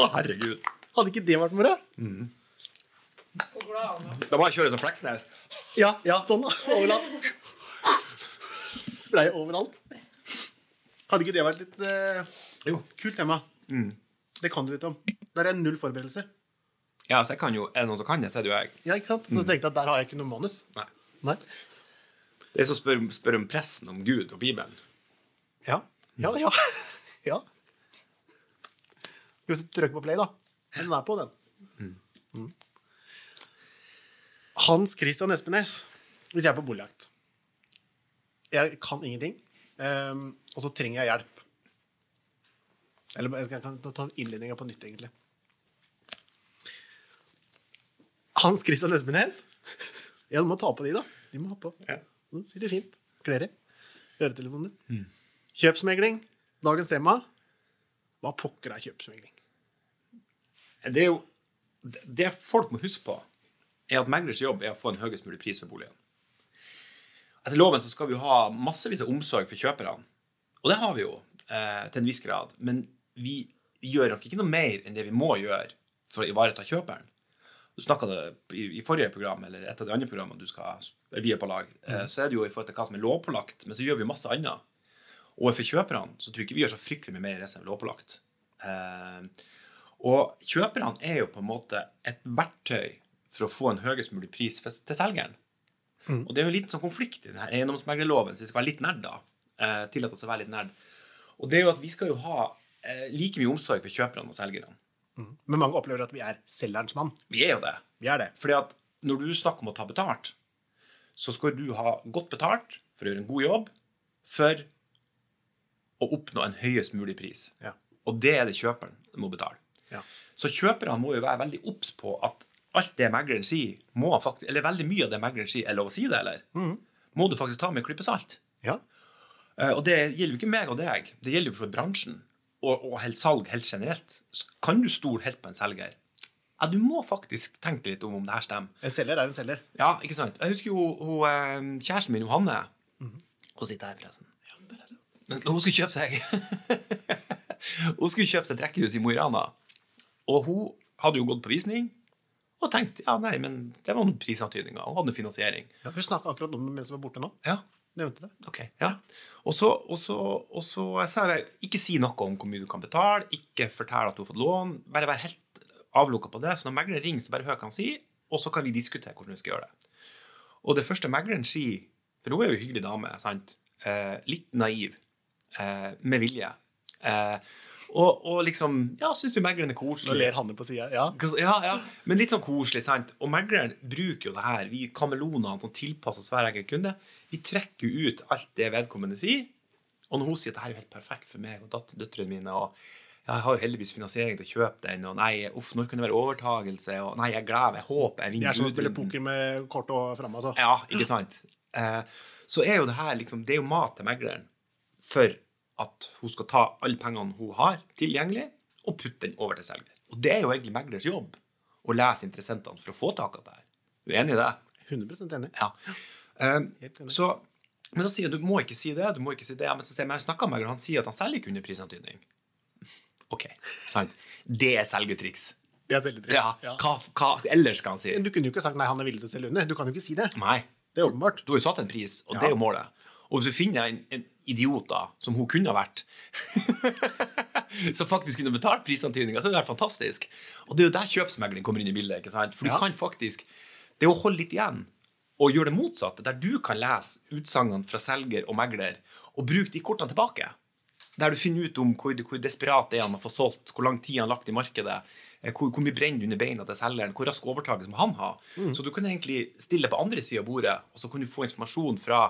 Å, herregud. Hadde ikke det vært moro? Da må jeg kjøre som Fleksnes. Ja, ja, sånn, da. Overalt. Spray overalt. Hadde ikke det vært litt eh, Jo. kult tema? Det kan du litt om. Der er null forberedelser. Ja, så jeg kan jo, Er det noen som kan det, så er det jo jeg. Ja, ikke sant? Så jeg tenkte jeg at der har jeg ikke noe manus. Nei. Nei. Det er som spør, spør om pressen om Gud og Bibelen. Ja. Ja, ja. ja. Skal vi trykke på play, da? Den er på, den. Mm. Hans Christian Espenes, hvis jeg er på boligjakt Jeg kan ingenting, ehm, og så trenger jeg hjelp. Eller jeg skal- jeg kan ta innledninga på nytt, egentlig. Hans Christian Espenes. Ja, du må ta på de, da. De må ha på. Ja. Den sitter fint. Klær i. Øretelefoner. Kjøpsmegling. Dagens tema. Hva pokker er kjøpsmegling? Det, er jo, det- det folk må huske på, er at meglers jobb er å få en høyest mulig pris for boligen. Etter loven så skal vi jo ha massevis av omsorg for kjøperne. Og det har vi jo, eh, til en viss grad. Men vi gjør nok ikke noe mer enn det vi må gjøre for å ivareta kjøperen. Du snakka det i, i forrige program, eller et av de andre programmene du skal vi er på lag, eh, så er det jo i forhold til hva som er lovpålagt, men så gjør vi masse annet. Og for kjøperne så tror jeg ikke vi gjør så fryktelig mye mer enn det som er lovpålagt. Eh, og kjøperne er jo på en måte et verktøy for å få en høyest mulig pris for- til selgeren. Mm. Og det er jo en liten sånn konflikt i denne eiendomsmeglerloven, så vi skal være litt nerder. Eh, tillate oss å være litt nerd. Og det er jo at vi skal jo ha eh, like mye omsorg for kjøperne og selgerne. Men mange opplever at vi er selgerens mann. Vi er jo det. Vi er det. Fordi at når du snakker om å ta betalt, så skal du ha godt betalt for å gjøre en god jobb for å oppnå en høyest mulig pris. Ja. Og det er det kjøperen må betale. Ja. Så kjøperne må jo være veldig obs på at alt det megleren sier, må han faktisk, eller veldig mye av det megleren sier, er lov å si det, eller? Må du faktisk ta med en klype salt. ja. Eh, Og det gjelder jo ikke meg og deg, det gjelder jo for bransjen og, og helt salg helt generelt. Så Kan du stole helt på en selger? Ja, du må faktisk tenke litt om om det her stemmer. En selger er en selger. Ja, ikke sant? Jeg husker jo hun, eh, kjæresten min, Johanne. Hun sitter her, forresten. Hun skulle kjøpe seg Hun skulle kjøpe seg et rekkehus i Mo i Rana. Og hun hadde jo gått på visning og tenkt ja, nei, men det var noen prisantydninger. Hun hadde noe finansiering. Ja. Hun snakka akkurat om det mens hun var borte nå. Ja, Nevnte det. ok. Ja. Og så, og så, og så sa jeg sånn ikke si noe om hvor mye du kan betale, ikke fortell at du har fått lån. Bare vær helt avlukka på det. Så når megleren ringer, så bare hør hva han sier, og så kan vi diskutere hvordan du skal gjøre det. Og det første megleren sier, for hun er jo en hyggelig dame, sant? Eh, litt naiv, eh, med vilje. Eh, og, og liksom Ja, syns jo megleren er Nå koselig. ler Hanne på sida. Ja. Ja, ja, men litt sånn koselig, sant? Og megleren bruker jo det her. Vi kamelonene som tilpasses hver enkelt kunde, vi trekker jo ut alt det vedkommende sier. Og når hun sier at det her er jo helt perfekt for meg og datt- døtrene mine og ja, jeg har jo heldigvis finansiering til å kjøpe den, og nei, uff, når kan det være overtagelse, og nei, jeg gleder meg, jeg håper jeg Det vinner er som å spille budrunden. poker med kort og framme, altså. Ja, ikke sant? Eh, så er jo det her liksom, det er jo mat til megleren for at hun skal ta alle pengene hun har tilgjengelig, og putte den over til selger. Og det er jo egentlig meglers jobb å lese interessentene for å få tak i det her. Du er enig i det? 100 enig. Ja. Um, Helt enig. så, men så sier jeg, du må ikke si det, du må ikke si det. Men så sier jeg, men jeg snakket med megleren, han sier at han selger ikke under prisantydning. Ok, sant. Det er selgetriks. Det er selvtillit. Ja, Ja. Hva, hva ellers skal han si? Men Du kunne jo ikke sagt 'nei, han er villig til å selge under'. Du kan jo ikke si det. Nei. Det er åpenbart. Du har jo satt en pris, og det er jo målet. Og hvis du finner en, en idiot da, som hun kunne ha vært, som faktisk kunne betalt prisantydninga, så er det helt fantastisk. Og det er jo der kjøpsmegling kommer inn i bildet. ikke sant? For du Ja. kan faktisk Det er å holde litt igjen og gjøre det motsatte, der du kan lese utsagnene fra selger og megler og bruke de kortene tilbake. Der du finner ut om hvor, hvor desperat det er han å få solgt, hvor lang tid han har lagt i markedet, eh, hvor, hvor mye brenner under beina til selgeren, hvor rask overtakelse må han ha. Så du kan egentlig stille på andre sida av bordet, og så kan du få informasjon fra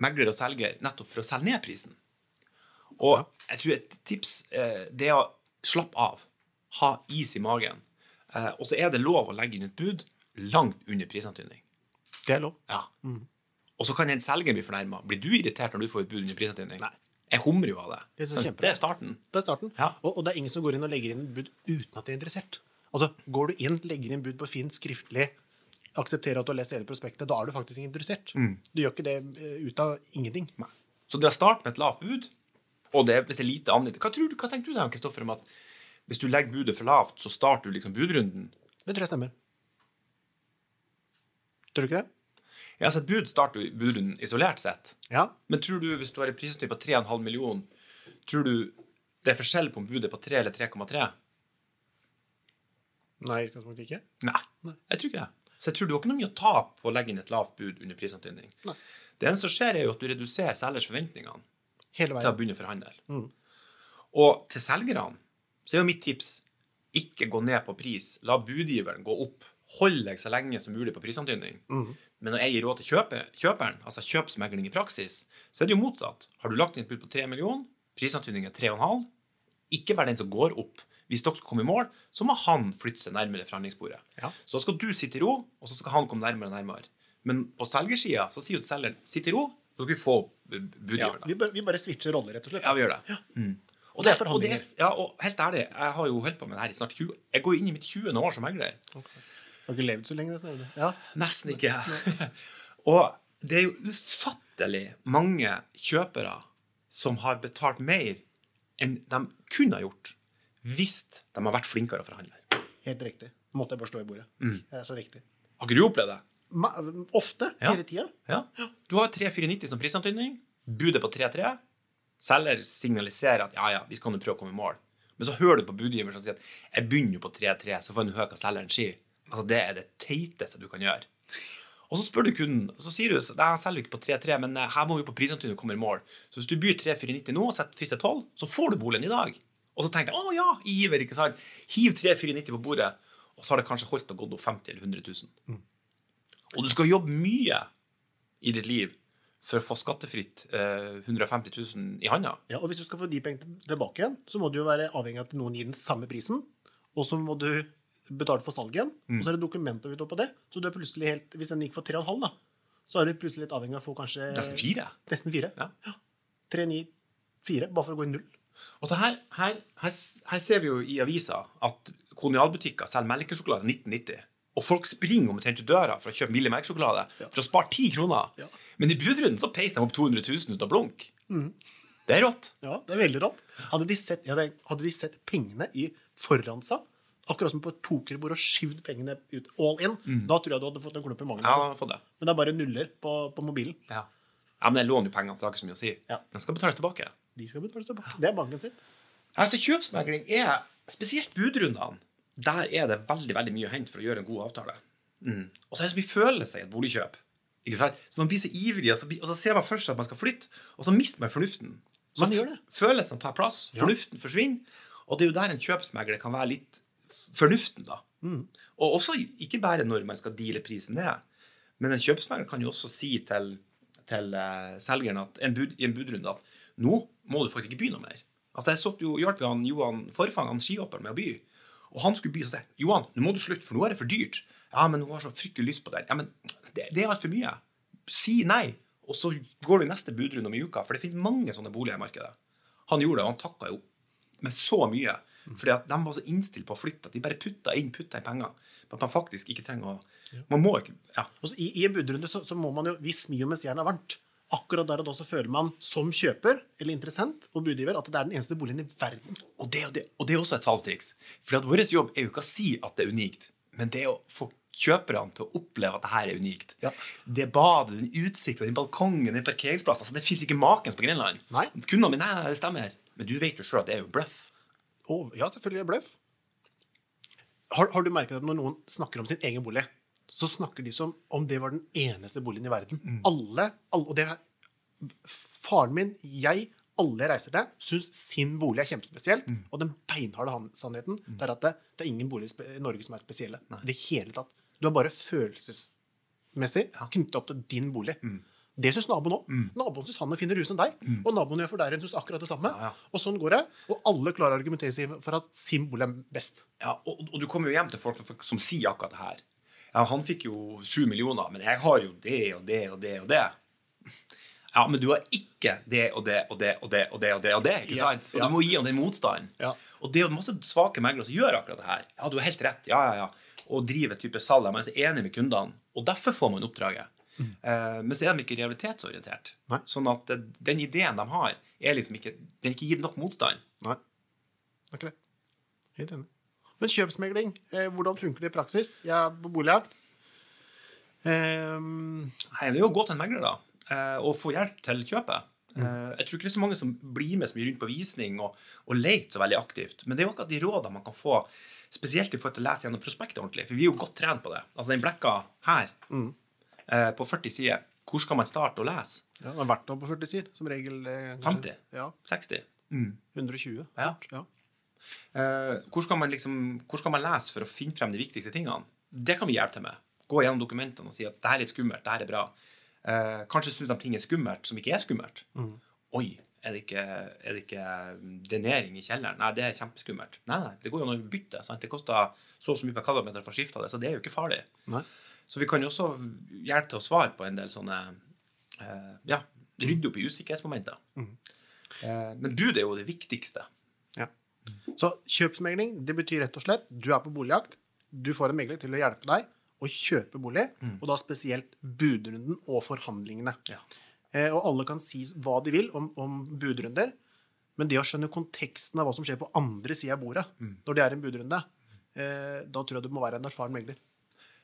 megler og selger nettopp for å selge ned prisen. Og jeg tror et tips eh, det er å slappe av. Ha is i magen. Eh, og så er det lov å legge inn et bud langt under prisantydning. Det er lov. Ja. Og så kan en selger bli fornærma. Blir du irritert når du får et bud under prisantydning? Jeg humrer jo av det. Jeg synes Så det er kjempebra. det er starten. Det er starten. Ja. Og, og det er ingen som går inn og legger inn bud uten at de er interessert. Altså, Går du inn, legger inn bud på Finn skriftlig, aksepterer at du har lest hele prospektet, da er du faktisk ikke interessert. Du gjør ikke det eh, ut av ingenting. Så det er start med et lavt bud, og det, hvis det er lite annet Hva, tror du, hva tenker du da, Kristoffer, om at Hvis du legger budet for lavt, så starter du liksom budrunden. Det tror jeg stemmer. Tror du ikke det? Ja, altså Et bud starter jo i budrunden isolert sett. Ja. Men tror du, hvis du har en prissnitt på 3,5 millioner, tror du det er forskjell på om budet er på 3 eller 3,3? Nei, i utgangspunktet ikke. Nei. Jeg tror ikke det. Så jeg tror du har ikke noe mye å tape på å legge inn et lavt bud under prisantydning. Nei. Det eneste som skjer, er jo at du reduserer selgers forventningene Hele til å veien. begynne å forhandle. Mm. Og til selgerne så er jo mitt tips ikke gå ned på pris. La budgiveren gå opp. Hold deg så lenge som mulig på prisantydning. Mm. Men når jeg gir råd til kjøpe, kjøperen, altså kjøpsmegling i praksis, så er det jo motsatt. Har du lagt inn et bud på 3 millioner, prisantydning er 3,5, ikke vær den som går opp. Hvis dere skal komme i mål, så må han flytte seg nærmere forhandlingsbordet. Ja. Så skal du sitte i ro, og så skal han komme nærmere og nærmere. Men på selgersida så sier jo til selgeren sitt i ro, så skal vi få Ja, budgiveren. vi, bare, vi bare switcher roller, rett og slett. Ja, vi gjør det. Mm. Og, Det det, er og, det, forhandlinger. ja, og helt ærlig, jeg har jo holdt på med det her i snart 20 Jeg går jo inn i mitt 20. år som megler. Har ikke levd så lenge, nesten. eller? Ja. Nesten ikke. og det er jo ufattelig mange kjøpere som har betalt mer enn de kunne ha gjort hvis de har vært flinkere å forhandle. Helt riktig. Måtte jeg bare slå i bordet. Det er så riktig. Har ikke du opplevd det? Ma ofte. Mm. Ja. Hele tida. Ja. Du har 3-4,90 som prisantydning. Budet på 3-3. Selger signaliserer at ja, ja, vi skal nå prøve å komme i mål. Men så hører du på budgiveren som sier at jeg begynner jo på 3-3, så får jeg nå høre hva selgeren sier. Altså, Det er det teiteste du kan gjøre. Og så spør du kunden, og så sier du at jeg selger jo ikke på 3-3, men eh, her må vi på prisantydning og komme i mål. Så hvis du byr 3-4,90 nå og setter pris til 12, så får du boligen i dag. Og så tenker jeg å ja, iver, ikke sant. Hiv 3-4,90 på bordet, og så har det kanskje holdt og gått opp 50 eller 100 000. Og du skal jobbe mye i ditt liv for å få skattefritt eh, 150 000 i handa. Ja, og hvis du skal få de pengene tilbake igjen, så må du jo være avhengig av at noen gir den samme prisen, og så må du betale for salget igjen, Mm. og så er det dokumenter vi tar på det, så du er plutselig helt, hvis den gikk for 3,5 da, så er du plutselig litt avhengig av å få kanskje... Nesten fire. Nesten fire. Ja. 3, 9, 4, bare for å gå i null. Og så her, her, her, s- her ser vi jo i avisa at kolonialbutikker selger melkesjokolade til 1990. Og folk springer omtrent ut døra for å kjøpe billig melkesjokolade for å spare 10 kroner. Ja. Men i budrunden så peiser de opp 200 000 ut av blunk. Mm. Det er rått. Ja, det er veldig rått. Hadde de sett, ja, det- hadde de sett pengene i foran seg, akkurat som på et pokerbord og skyvd pengene ut all in, da tror jeg du hadde fått en klump i magen. Mm. Ja, altså. få det. Men det er bare nuller på, på mobilen. Ja. ja, Men jeg låner jo pengene, så det har ikke så mye å si. Ja. Den skal betales tilbake. De skal betale seg bak. Det er banken sitt. Altså, kjøpsmegling er Spesielt budrundene. Der er det veldig veldig mye å hente for å gjøre en god avtale. Mm. Og så er det så mye følelser i et boligkjøp. Ikke sant? Så Man blir så ivrig, og så, blir- og så ser man først at man skal flytte, og så mister man fornuften. Så Man gjør det. f- Følelsene tar plass, fornuften forsvinner. Og det er jo der en kjøpsmegler kan være litt f- fornuften, da. Og også ikke bare når man skal deale prisen ned, men en kjøpsmegler kan jo også si til, til eh, selgeren at, en bud, i en budrunde at nå må du faktisk ikke by noe mer. Altså Jeg satt jo og hjalp jo han Johan Forfang, han skihopperen, med å by. Og han skulle by og si Johan, nå må du slutte, for nå er det for dyrt. Ja, men hun har så fryktelig lyst på den. Ja, men det, det er altfor mye. Si nei, og så går du i neste budrunde om ei uke. For det finnes mange sånne boliger i markedet. Han gjorde det, og han takka jo med så mye. Fordi at de var så innstilt på å flytte at de bare putta inn putta inn penger. At man faktisk ikke trenger å Man må ikke ja. Og så i, I en budrunde så, så må man jo Vi smir jo mens jernet er varmt. Akkurat der og da så føler man som kjøper eller interessent og budgiver at det er den eneste boligen i verden. Og det, er jo det, og det er også et salgstriks. Fordi at vår jobb er jo ikke å si at det er unikt, men det er å få kjøperne til å oppleve at det her er unikt. Ja. Det badet, den utsikten, den balkongen, den parkeringsplassen altså Det fins ikke maken på Grenland. Nei. Kundene mine, nei, nei, det stemmer. Men du vet jo sjøl at det er jo bløff. Og ja, selvfølgelig er det bløff. Har, har du merket at når noen snakker om sin egen bolig, så snakker de som om det var den eneste boligen i verden? Alle, alle, og det er Faren min, jeg, alle jeg reiser til, syns sin bolig er kjempespesiell. Mm. Og den beinharde han- sannheten det er at det, det er ingen boliger spe- i Norge som er spesielle. I det hele tatt. Du er bare følelsesmessig knyttet opp til din bolig. Mm. Det syns naboen òg. Naboen syns han er finere hus enn deg. Og naboen gjør for deg syns akkurat det samme. Ja, ja. Og sånn går det. Og alle klarer å argumentere seg for at sin bolig er best. Ja, og, og du kommer jo hjem til folk som- som sier akkurat det her. Ja, han fikk jo sju millioner, men jeg har jo det og det og det og det. Ja, men du har ikke det og det og det og det og det og det, og det ikke Yes, sant? Så ja. du må gi han den motstanden. Ja. Og det er jo masse svake meglere som gjør akkurat det her. Ja, du har helt rett. Ja, ja, ja. Og driver et type salg der man er så enig med kundene. Og derfor får man oppdraget. Eh, men så er de ikke realitetsorientert. Mm. Nei. Sånn at eh, den ideen de har, er liksom ikke, den er ikke gitt nok motstand. Nei. Det er ikke det. Helt enig. Men kjøpsmegling, eh, hvordan funker det i praksis? Jeg er på boligjakt. Ehm, Nei, det er jo å gå til en megler da, eh, og få hjelp til kjøpet. Eh, Jeg tror ikke det er så mange som blir med så mye rundt på visning og, og leter så veldig aktivt. Men det er jo akkurat de rådene man kan få, spesielt i forhold til å lese gjennom prospektet ordentlig. For vi er jo godt trent på det. Altså den blekka her, eh, på 40 sider, hvor skal man starte å lese? ja, det har vært opp på 40 sider, som regel. eh, kanskje- 50? Ja, 60? 120. Ja. ja. Eh, hvor, skal man liksom, hvor skal man lese for å finne frem de viktigste tingene? Det kan vi hjelpe til med. Gå gjennom dokumentene og si at det her er litt skummelt, det her er bra. Eh, kanskje syns de ting er skummelt som ikke er skummelt. Oi, er det, ikke, er det ikke mm, drenering i kjelleren? Nei, det er kjempeskummelt. Nei, nei, det går jo an å bytte. Sant? Det koster så og så mye per kvadratmeter for å skifte det, så det er jo ikke farlig. Nei. Så vi kan jo også hjelpe til å svare på en del sånne eh, Ja, rydde opp i usikkerhetsmomenter. Eh, men bud er jo det viktigste. Ja. Så kjøpsmegling det betyr rett og slett du er på boligjakt. Du får en megler til å hjelpe deg å kjøpe bolig, og da spesielt budrunden og forhandlingene. Mm. Ja. Eh, og alle kan si hva de vil om, om budrunder, men det å skjønne konteksten av hva som skjer på andre sida av bordet når det er en budrunde, eh, da tror jeg du må være en erfaren megler.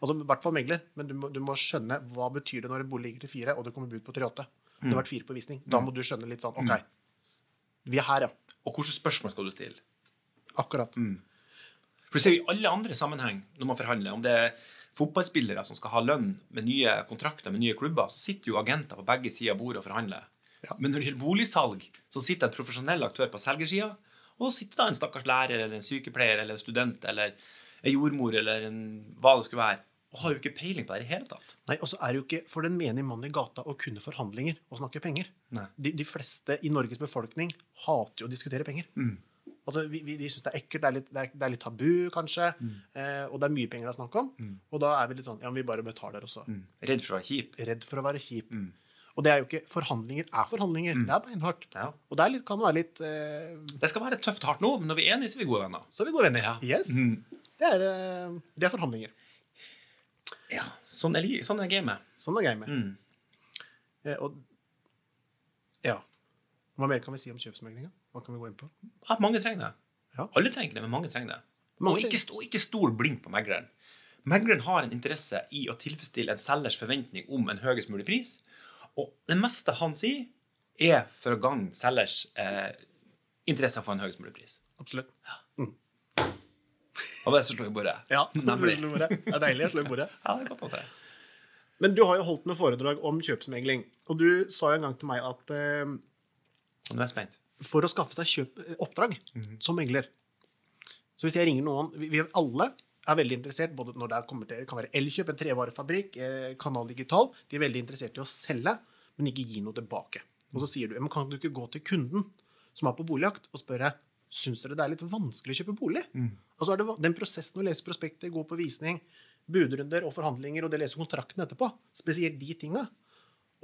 Altså i hvert fall megler, men du må, du må skjønne hva betyr det når en bolig ligger til fire, og det kommer bud på tre-åtte. Det har vært fire på visning. Da må du skjønne litt sånn OK, vi er her, ja. Og hvilke spørsmål skal du stille? Akkurat. For du ser jo i alle andre sammenheng når man forhandler, om det er fotballspillere som skal ha lønn med nye kontrakter med nye klubber, så sitter jo agenter på begge sider av bordet og forhandler. Ja. Men når det gjelder boligsalg, så sitter en profesjonell aktør på selgersida, og så sitter da en stakkars lærer eller en sykepleier eller en student eller en jordmor eller en, hva det skulle være, og har jo ikke peiling på det i det hele tatt. Nei, og så er det jo ikke for den menige mannen i gata å kunne forhandlinger og snakke penger. Nei. De, de fleste i Norges befolkning hater jo å diskutere penger. Altså, vi, vi, de syns det er ekkelt, det er litt, det er, det er litt tabu, kanskje, eh, og det er mye penger det er snakk om. Og da er vi litt sånn Ja, men vi bare betaler, og så Redd for å være kjip. Redd for å være kjip. Og det er jo ikke Forhandlinger er forhandlinger. Det er beinhardt. Ja. Og det er litt, kan være litt eh, Det skal være tøft hardt nå, men når vi er enige, så er vi gode venner. Så er vi gode venner. Mm. Yes. Det, er, eh, det er forhandlinger. Ja, Sånn er, li- sånn er gamet. Sånn er gamet. Eh, og Ja. Hva mer kan vi si om kjøpsmeglinga? Hva kan vi gå inn på? Ja, mange trenger det. Ja. Alle trenger det, men mange trenger det. Mange og ikke, sto- ikke stol blink på megleren. Megleren har en interesse i å tilfredsstille en selgers forventning om en høyest mulig pris, og det meste han sier, er for å gagne selgers eh, interesse for en høyest mulig pris. Absolutt. Og det er så slår i bordet. Ja, du Nemlig. slår bordet. Det er deilig å slå i bordet. Ja, det er godt å se. Men du har jo holdt noen foredrag om kjøpsmegling. Og du sa jo en gang til meg at eh, Nå er jeg spent. for å skaffe seg kjøp, eh, oppdrag som megler Så hvis jeg ringer noen vi, vi alle er veldig interessert, både når det er- kommer til, det kan være Elkjøp, en trevarefabrikk, eh, Kanal Digital De er veldig interessert i å selge, men ikke gi noe tilbake. Og så sier du men kan du ikke gå til kunden som er på boligjakt, og spørre syns dere det er litt vanskelig å kjøpe bolig. Altså er det, va- Den prosessen å lese prospektet, gå på visning, budrunder og forhandlinger, og det å lese kontrakten etterpå, spesielt de tinga,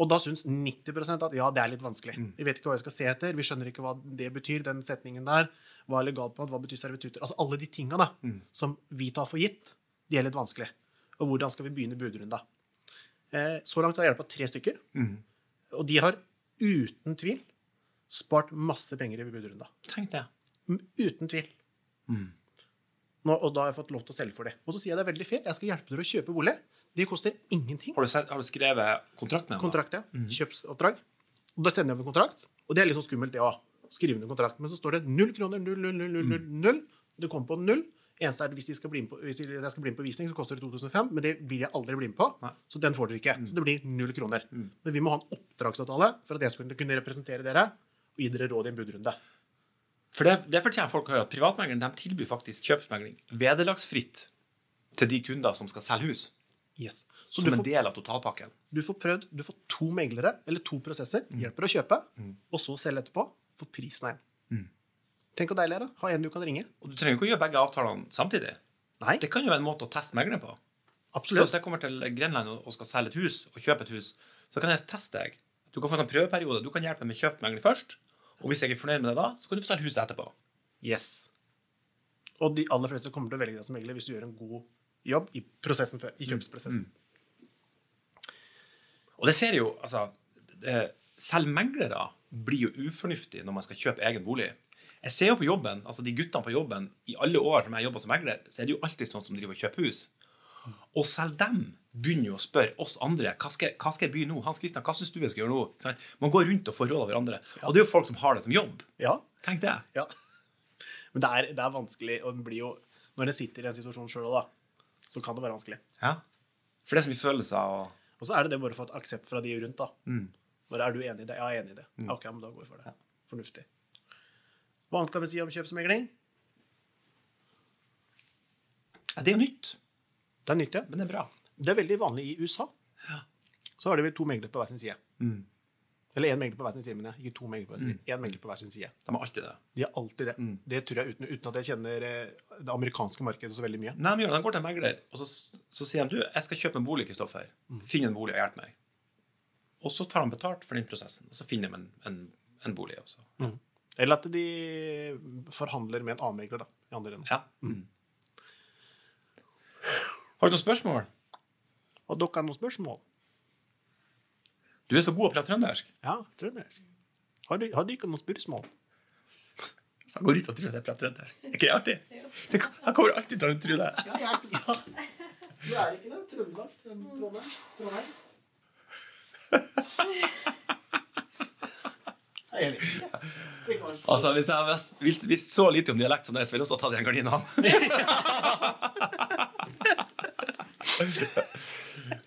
og da syns 90 at ja, det er litt vanskelig. Vi vet ikke hva vi skal se etter, vi skjønner ikke hva det betyr, den setningen der. Hva er legalt på hva betyr servitutter? Altså alle de tinga da, som vi tar for gitt, de er litt vanskelig. Og hvordan skal vi begynne budrunda? Eh, så langt har jeg hjulpet tre stykker, og de har uten tvil spart masse penger i budrunda. Tenk det. M- Uten tvil. Nå, og da har jeg fått lov til å selge for det. Og så sier jeg det er veldig fair, jeg skal hjelpe dere å kjøpe bolig. Det koster ingenting Har du, sett- har du skrevet kontrakt med ham? kontrakt, ja. Kjøpsoppdrag. Og da sender jeg over kontrakt. Og det er litt sånn skummelt, det òg. Skrive under kontrakt. Men så står det null kroner, null, null, null, null, null, null. Det kommer på null. Eneste er at hvis, de skal bli med på, hvis de- jeg skal bli med på visning, så koster det 2005. Men det vil jeg aldri bli med på, så den får dere ikke. Så det blir null kroner. Men vi må ha en oppdragsavtale for at jeg skulle kunne representere dere og gi dere råd i en budrunde. For det, det fortjener folk å høre, at privatmegleren de tilbyr faktisk kjøpsmegling vederlagsfritt til de kunder som skal selge hus, Yes. Så som du en får, del av totalpakken. du får prøvd. Du får to meglere, eller to prosesser. Hjelper å kjøpe, og så selge etterpå for prisen av én. Tenk hvor deilig det er. da. Ha en du kan ringe. Og du trenger jo ikke å gjøre begge avtalene samtidig. Nei, Det kan jo være en måte å teste megleren på. Så absolutt. hvis jeg kommer til Grenland og og skal selge et hus, og kjøpe et hus, så kan jeg teste deg. Du kan få en prøveperiode. Du kan hjelpe meg med å kjøpe megling først. Og hvis jeg ikke er fornøyd med det da, så kan du få selge huset etterpå. Yes. Og de aller fleste kommer til å velge deg som megler hvis du gjør en god jobb i, prosessen før, i kjøpsprosessen. Og det ser jeg jo, altså eh, Selv meglere blir jo ufornuftige når man skal kjøpe egen bolig. Jeg ser jo på jobben, altså de guttene på jobben i alle år som jeg jobber som megler, så er det jo alltid sånn som driver og kjøper hus. Og selv dem begynner jo å spørre oss andre hva skal, hva skal jeg by nå? Hans Christian, hva syns du jeg skal gjøre nå? Ikke sant? Man går rundt og får råd av hverandre. Og det er jo folk som har det som jobb. Ja. Tenk det. ja. Men det er, det er vanskelig, og det blir jo Når en sitter i en situasjon sjøl òg, da, så kan det være vanskelig. Ja. For det er så mye følelser og Og så er det det bare å få et aksept fra de rundt, da. Når er du enig i det? Ja, jeg er enig i det. Ja, Ok, men da går vi for det. Fornuftig. Hva annet kan vi si om kjøpsmegling? ja, Det er jo nytt, Det er nytt, ja. men det er bra. Det er veldig vanlig i USA. Så har de vel to meglere på hver sin side. Eller én megler på hver sin side, men jeg. Ikke to megler på hver sin side. En megler på hver sin side. De har alltid det. De er alltid det. Det tror jeg uten, uten at jeg kjenner eh, det amerikanske markedet så veldig mye. Nei, de gjør det. De går til en megler, og så, så sier de du, jeg skal kjøpe en bolig, Kristoffer. Finn en bolig og hjelp meg. Og så tar de betalt for den prosessen, og så finner de en, en, en bolig også. Eller at de forhandler med en annen megler, da. I andre enden. Ja. Mm. Har du noen spørsmål? Og dere har noen spørsmål? Du er så god å prate trøndersk. Ja, trønder. Har du- har du ikke noen spørsmål? Så han går ut og tror at jeg prater trøndersk. Er ikke det artig? Det, han kommer alltid til å tro det. Ja, jeg er ikke ja. Du er ikke det. Trøndelag. Trondheim. Trondheim. Jeg vet ikke. Det kan være- Altså, Hvis jeg visst- visst- visst så lite om dialekt som deg, så ville jeg også tatt igjen gardinene.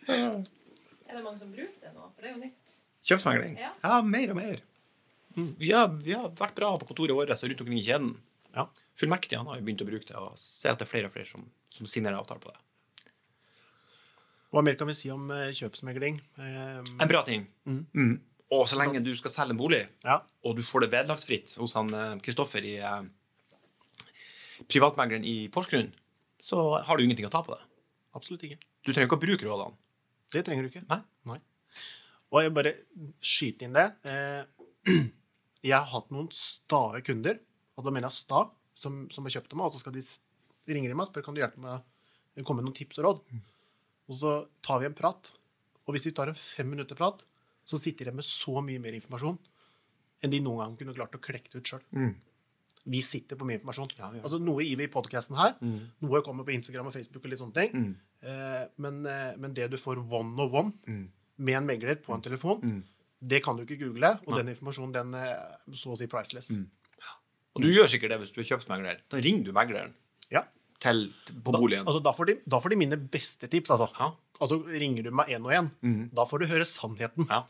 Er det mange som bruker det nå? For det er jo nytt. Kjøpsmegling. Ja. Ja, mer og mer. Mm. Vi har, vi har vært bra på kontoret vårt og rundt omkring i kjeden. Ja. Fullmektigene har jo begynt å bruke det, og ser at det er flere og flere som, som signerer avtale på det. Hva mer kan vi si om eh, kjøpsmegling? Eh, En bra ting. Mm. Og så lenge du skal selge en bolig, Ja. og du får det vederlagsfritt hos han eh, Kristoffer i eh, privatmegleren i Porsgrunn, så har du ingenting å ta på det. Absolutt ikke. Du trenger ikke å bruke rådene. Det trenger du ikke. Nei? Nei. Og jeg bare skyter inn det. Eh, jeg har hatt noen stae kunder, og da mener jeg sta, som, som har kjøpt av meg, og så skal de s- ringer de meg og spør kan du hjelpe meg å komme med noen tips og råd. Og så tar vi en prat, og hvis vi tar en fem minutter prat, så sitter de med så mye mer informasjon enn de noen gang kunne klart å klekke ut sjøl. Vi sitter på mye informasjon. Ja, vi gjør det. Mm. Altså, noe gir vi i podkasten her, noe kommer på Instagram og Facebook, og litt sånne ting. Eh, men, eh, men det du får one on one Mm. med en megler på en telefon, det kan du ikke google, og den informasjonen den eh, er så å si priceless. Mm. Og Mm. du gjør sikkert det hvis du er kjøpsmegler. Da ringer du megleren Ja. til, på boligen. Altså, da, får de, da får de mine beste tips, altså. Ja. Mm. Altså, Ringer du meg én og én, da får du høre sannheten. Ja.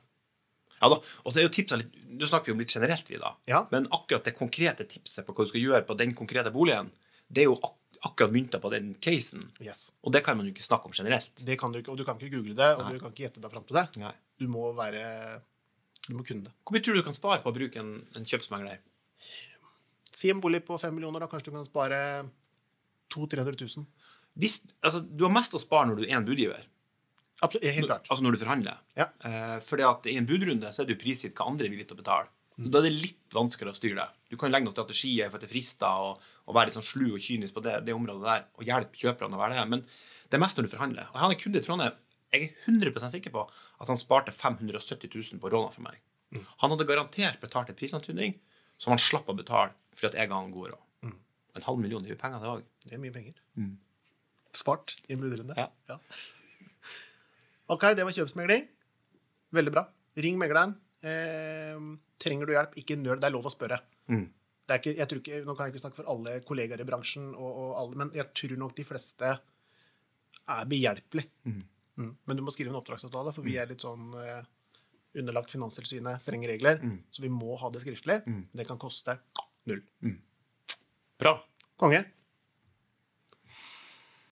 ja da. Og så er jo tipsene litt Nå snakker vi om litt generelt, vi, da. Ja. Men akkurat det konkrete tipset på hva du skal gjøre på den konkrete boligen, det er jo ak akkurat mynta på den casen. Yes. Og det kan man jo ikke snakke om generelt. Det kan du ikke, Og du kan ikke google det, og du kan ikke gjette deg fram til det. Nei. Du må være Du må kunne det. Hvor mye tror du du kan spare på å bruke en, en kjøpsmegler? Si en bolig på fem millioner, da kanskje du kan spare 200 000-300 000. Hvis, altså, du har mest å spare når du er en budgiver. Absolutt, helt klart. Altså når du forhandler. Ja. Eh, fordi at i en budrunde så er du prisgitt hva andre er villige til å betale. Så da er det litt vanskeligere å styre det. Du kan legge noen strategier for at det frister, og, og være litt sånn slu og kynisk på det, det området der, og hjelpe kjøperne å være det. Men det er mest når du forhandler. Og jeg har en kunde i Trondheim. Jeg er 100 sikker på at han sparte 570 000 på råna for meg. Han hadde garantert betalt en prisantydning som han slapp å betale fordi at jeg ga han god råd. Mm. En halv million er jo penger, det òg. Det er mye penger. Spart i en budrunde. Ja. Ok, det var kjøpsmegling. Veldig bra. Ring megleren. Eh, trenger du hjelp, ikke nøl. Det er lov å spørre. Det er ikke, jeg tror ikke, nå kan jeg ikke snakke for alle kollegaer i bransjen, og, og alle, men jeg tror nok de fleste er behjelpelig. Mm. Men du må skrive en oppdragsavtale, for vi er litt sånn eh, underlagt Finanstilsynet, strenge regler. Så vi må ha det skriftlig. Det kan koste null. Bra. Konge.